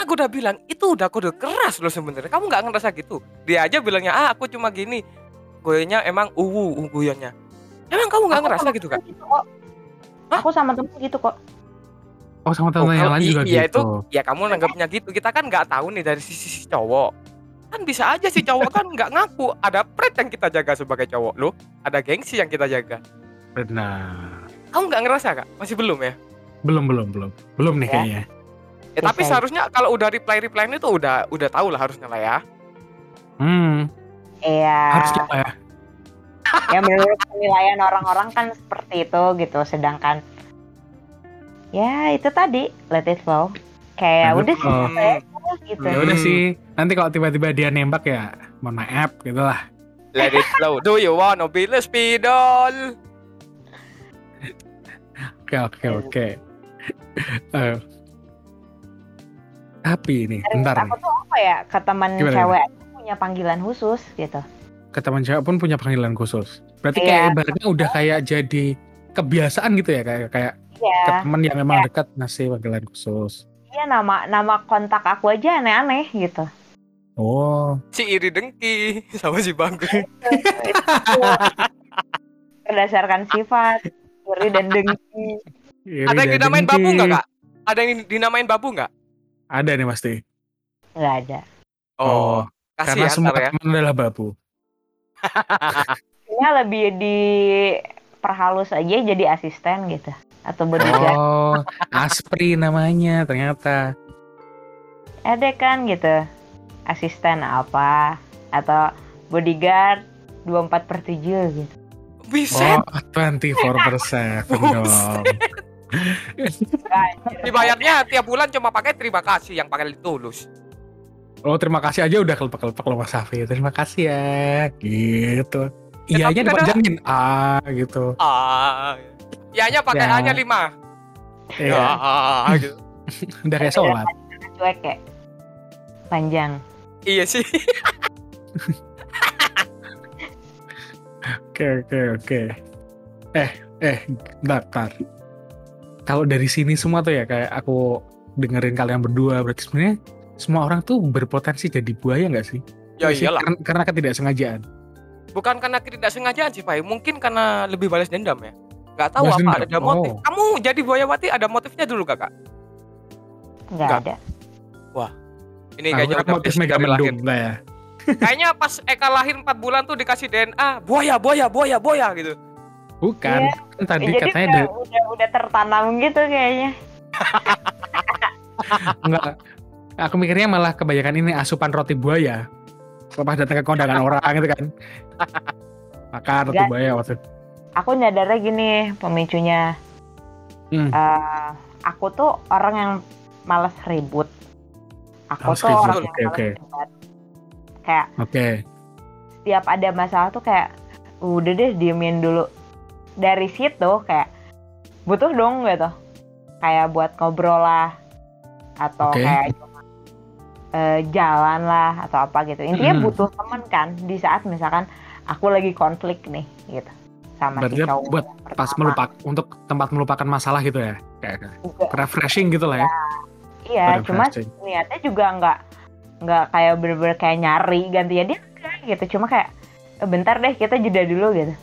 Aku udah bilang itu udah kode keras loh sebenarnya. Kamu nggak ngerasa gitu? Dia aja bilangnya ah aku cuma gini. Goyanya emang uwu uh, goyanya. Emang kamu nggak
Aku
ngerasa
sama
gitu kak?
temen kok.
Hah?
Aku sama temen gitu kok.
Oh sama
Oh,
teman yang
kalau
lain
i-
juga
iya,
gitu.
itu Ya kamu nanggapnya gitu. Kita kan nggak tahu nih dari sisi si cowok. Kan bisa aja si cowok kan nggak ngaku. Ada pride yang kita jaga sebagai cowok loh. Ada gengsi yang kita jaga.
Benar.
Kamu nggak ngerasa kak? Masih belum ya?
Belum belum belum belum nih
Ya.
kayaknya.
Ya, tapi
Bisa.
seharusnya kalau udah reply reply itu udah udah tahu lah harusnya lah ya.
Hmm
Iya.
harusnya lah ya.
ya menurut penilaian orang-orang kan seperti itu gitu sedangkan ya itu tadi let it flow kayak
Let it
udah sih
flow.
let it flow, gitu
Ya udah
Hmm.
sih. Nanti kalau tiba-tiba dia nembak ya mohon maaf gitu lah.
Let it flow. Do you wanna be the speedol?
Oke oke
Hmm.
oke. Eh, Tapi nih,
Terus
bentar
aku
nih.
tuh apa ya ke teman
Gimana,
cewek aku punya panggilan khusus gitu
Ke teman cewek pun punya panggilan khusus. Berarti
Iya.
kayak ibaratnya udah kayak jadi kebiasaan gitu ya kayak kayak ke
Iya.
ya
teman yang memang dekat ngasih panggilan khusus.
dia Iya, nama nama kontak aku aja aneh-aneh gitu
Oh,
si iri dengki sama si bangku
berdasarkan sifat iri dan dengki
iri
ada yang
dan
dinamain
dengki.
babu nggak kak ada yang dinamain babu nggak
Ada nih pasti.
nggak ada
Oh,
kasih
karena
ya
semua
ntar ya
teman adalah babu.
ini lebih diperhalus aja jadi asisten gitu atau bodyguard
Oh,
ya.
Aspri namanya ternyata.
ada kan gitu asisten apa atau bodyguard 24 per 7 gitu
bisa
Oh, 24 dong.
dibayarnya tiap bulan cuma pakai terima kasih yang pakai tulus
Oh, terima kasih aja udah kelepek-kelepek loh Mas Safi. Terima kasih ya. Gitu.
Ya,
Iyanya
tapi kadang-
dipanjangin ah gitu.
ah ianya pakai
Ya.
hanya lima
Iya,
Ah, gitu.
udah kayak sholat.
cuek kayak panjang
iya sih
Oke, oke, oke. Eh, eh, bentar. Kalau dari sini semua tuh ya kayak aku dengerin kalian berdua berarti sebenarnya semua orang tuh berpotensi jadi buaya nggak sih?
ya
Nggak Iya sih?
iyalah
Karena, karena ketidaksengajaan.
bukan karena tidak sengajaan sih pak mungkin karena lebih balas dendam ya nggak tahu
Balas
apa
dendam.
ada motif
Oh.
kamu jadi buayawati ada motifnya dulu kakak
nggak
Nggak.
ada
ini
Aku
kayaknya
kan
udah
motif
jam
Mega Man
lahir.
Doom lah ya.
Kayaknya pas Eka lahir 4 bulan tuh dikasih DNA, buaya, buaya, buaya, buaya gitu.
Bukan.
Iya.
Kan tadi
jadi
katanya
udah,
dari
udah udah tertanam gitu kayaknya
enggak. Aku mikirnya malah kebanyakan ini asupan roti buaya. Lepas datang ke kondangan orang gitu kan. Makan roti
Enggak.
buaya waktu itu.
aku nyadarnya gini pemicunya
Hmm.
Eh, aku tuh orang yang malas ribut aku
Malas
tuh
ribut,
orang
oke,
yang
oke.
malas ribut kayak
Oke.
setiap ada masalah tuh kayak udah deh diemin dulu dari situ kayak butuh dong gitu kayak buat ngobrol lah atau
Oke.
kayak cuma, eh, jalan lah atau apa gitu intinya
Mm.
butuh temen kan di saat misalkan aku lagi konflik nih gitu sama
Berarti kan
si cowok
buat
yang
Pas
pertama
melupak untuk tempat melupakan masalah gitu ya. Kayak
juga.
refreshing gitu lah ya.
iya cuma
refreshing.
niatnya juga nggak nggak kayak bener-bener kayak nyari gantinya dia enggak gitu cuma kayak "Eh, bentar deh kita jeda dulu gitu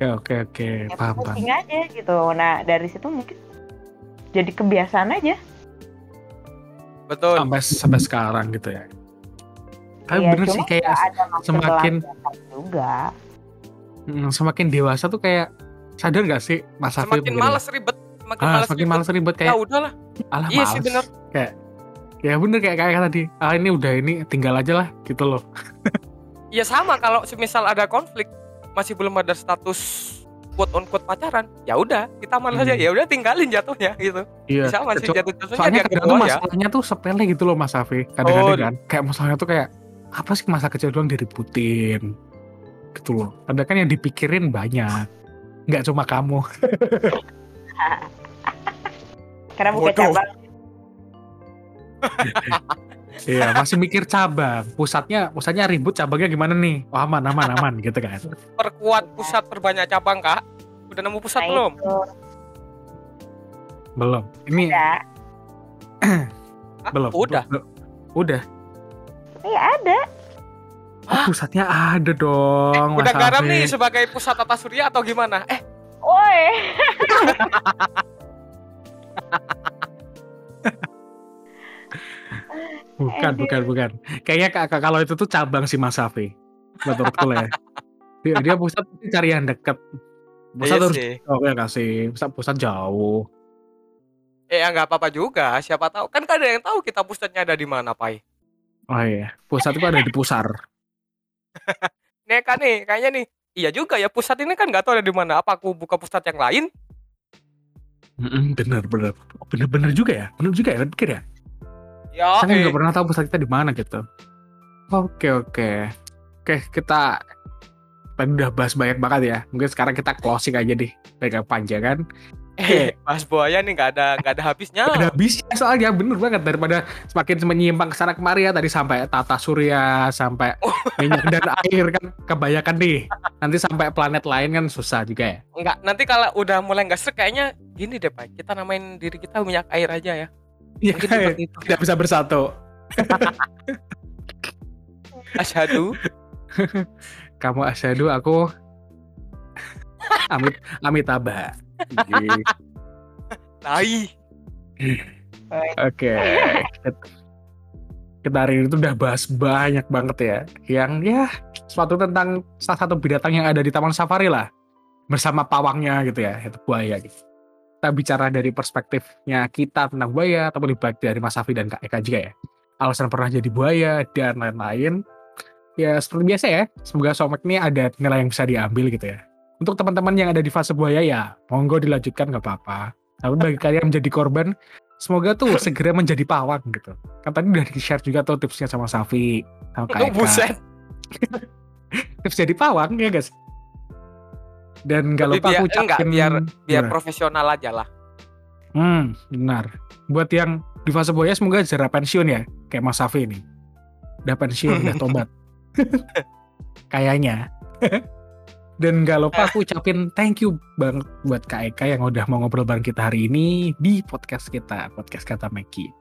Oke oke oke.
ya
Paham paham.
pusing aja gitu nah dari situ mungkin jadi kebiasaan aja
Betul.
Sampai sampai sekarang gitu ya. Tapi
Iya,
Ah, bener
cuma
sih kayak
nggak ada maksud
semakin-
melancarkan juga
mm, semakin dewasa tuh kayak sadar gak sih Mas Safi
Semakin
mungkin ya?
malas ribet, makin
Ah,
malas
semakin
ribet.
malas ribet
Ya
kayak
udahlah.
alah
Iya
males.
sih, bener.
kayak ya bener kayak kayak tadi ah ini udah ini tinggal aja lah gitu loh
Ya sama kalau semisal ada konflik masih belum ada status quote on quote pacaran, ya udah kita
Hmm.
malas aja. Ya udah tinggalin jatuhnya gitu.
iya
Sama sih
Kecu-
jatuh jatuhnya
soalnya
dia
kadang tuh
kedua ya.
masalahnya tuh sepele gitu loh Mas Safi kadang-kadang
Oh.
kan kayak masalahnya tuh kayak apa sih masa kecil doang diributin gitu loh padahal kan yang dipikirin banyak nggak cuma kamu
karena buka
Bodoh.
cabang
iya masih mikir cabang pusatnya pusatnya ribut cabangnya gimana nih oh, aman aman aman gitu kan
Perkuat pusat perbanyak cabang, Kak. Udah nemu pusat
nah
belum?
itu
belum ini
ada
Ah,
belum
Udah.
Belum. udah
iya ada
oh, pusatnya ada dong
Eh, Udah
Mas
garam
Alvin.
nih sebagai pusat tata surya atau gimana? Eh,
woi
bukan bukan bukan kayaknya kak- kak- kalau itu tuh cabang sih Mas Safi menurutku lah ya dia, dia pusat pasti cari yang deket pusat
iya
harus
sih.
jauh ya kasih pusat pusat jauh
Eh, nggak apa-apa juga. Siapa tahu kan kadang yang tahu kita pusatnya ada di mana, Pai.
oh iya pusat itu ada di pusar
Neka nih, kayaknya nih. Iya juga ya, pusat ini kan nggak tahu ada di mana. Apa aku buka pusat yang lain?
Mm-mm, bener bener Oh, bener bener juga ya bener juga ya kan pikir ya
Ya,
kita nggak
eh.
pernah tahu pusat kita di mana gitu oke oke oke kita tadi udah bahas banyak banget ya mungkin sekarang kita closing aja deh agak panjang kan
Eh, Mas Buaya nih nggak ada nggak ada habisnya.
Gak ada habisnya soalnya bener banget daripada semakin menyimpang ke sana kemari ya tadi sampai tata surya sampai minyak dan air kan kebanyakan nih nanti sampai planet lain kan susah juga ya
Nggak. Nanti kalau udah mulai nggak serak kayaknya gini deh, Pai. Kita namain diri kita minyak air aja ya.
Iya
Mungkin
kan?
seperti itu.
tidak bisa bersatu
Asyhadu.
kamu asyadu aku amit amitabha Iya.
Tai.
oke kita hari ini tuh udah bahas banyak banget ya yang ya suatu tentang salah satu binatang yang ada di taman safari lah bersama pawangnya gitu ya itu buaya gitu kita bicara dari perspektifnya kita tentang buaya ataupun lebih baik dari Mas Safi dan Kak Eka juga ya alasan pernah jadi buaya dan lain-lain ya seperti biasa ya semoga somek ini ada nilai yang bisa diambil gitu ya untuk teman-teman yang ada di fase buaya ya monggo dilanjutkan nggak apa-apa tapi bagi kalian yang menjadi korban semoga tuh segera menjadi pawang gitu kan tadi udah di share juga tuh tipsnya sama Safi sama Kak Eka
Buset.
tips jadi pawang ya guys dan gak
Tapi
lupa aku
biar- enggak,
ucapin
biar- Biar
Gimana?
profesional aja lah.
hmm, benar buat yang di fase buaya semoga segera pensiun ya kayak Mas Safi ini udah pensiun udah tobat kayaknya dan gak lupa aku ucapin thank you banget buat Kak Eka yang udah mau ngobrol bareng kita hari ini di podcast kita podcast kata Meki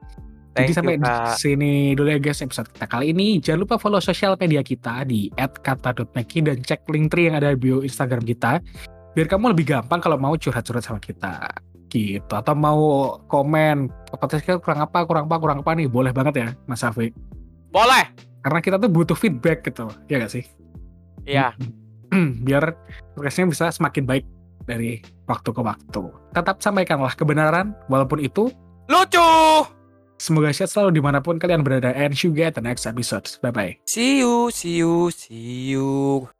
Jadi
Thank
sampai
you,
di
ya, Kak.
sini dulu ya guys episode kita kali ini. Jangan lupa follow sosial media kita di @kata.meki dan cek link tree yang ada di bio Instagram kita. Biar kamu lebih gampang kalau mau curhat-curhat sama kita. Gitu. Atau mau komen, podcast kita kurang apa, kurang apa, kurang apa nih. Boleh banget ya Mas Safi.
Boleh.
Karena kita tuh butuh feedback gitu. Ya gak sih?
Iya.
Hmm. Biar podcastnya bisa semakin baik dari waktu ke waktu. Tetap sampaikanlah kebenaran walaupun itu
Lucu.
Semoga sehat selalu dimanapun kalian berada and see you guys at the next episode. Bye-bye.
See you, see you, see you.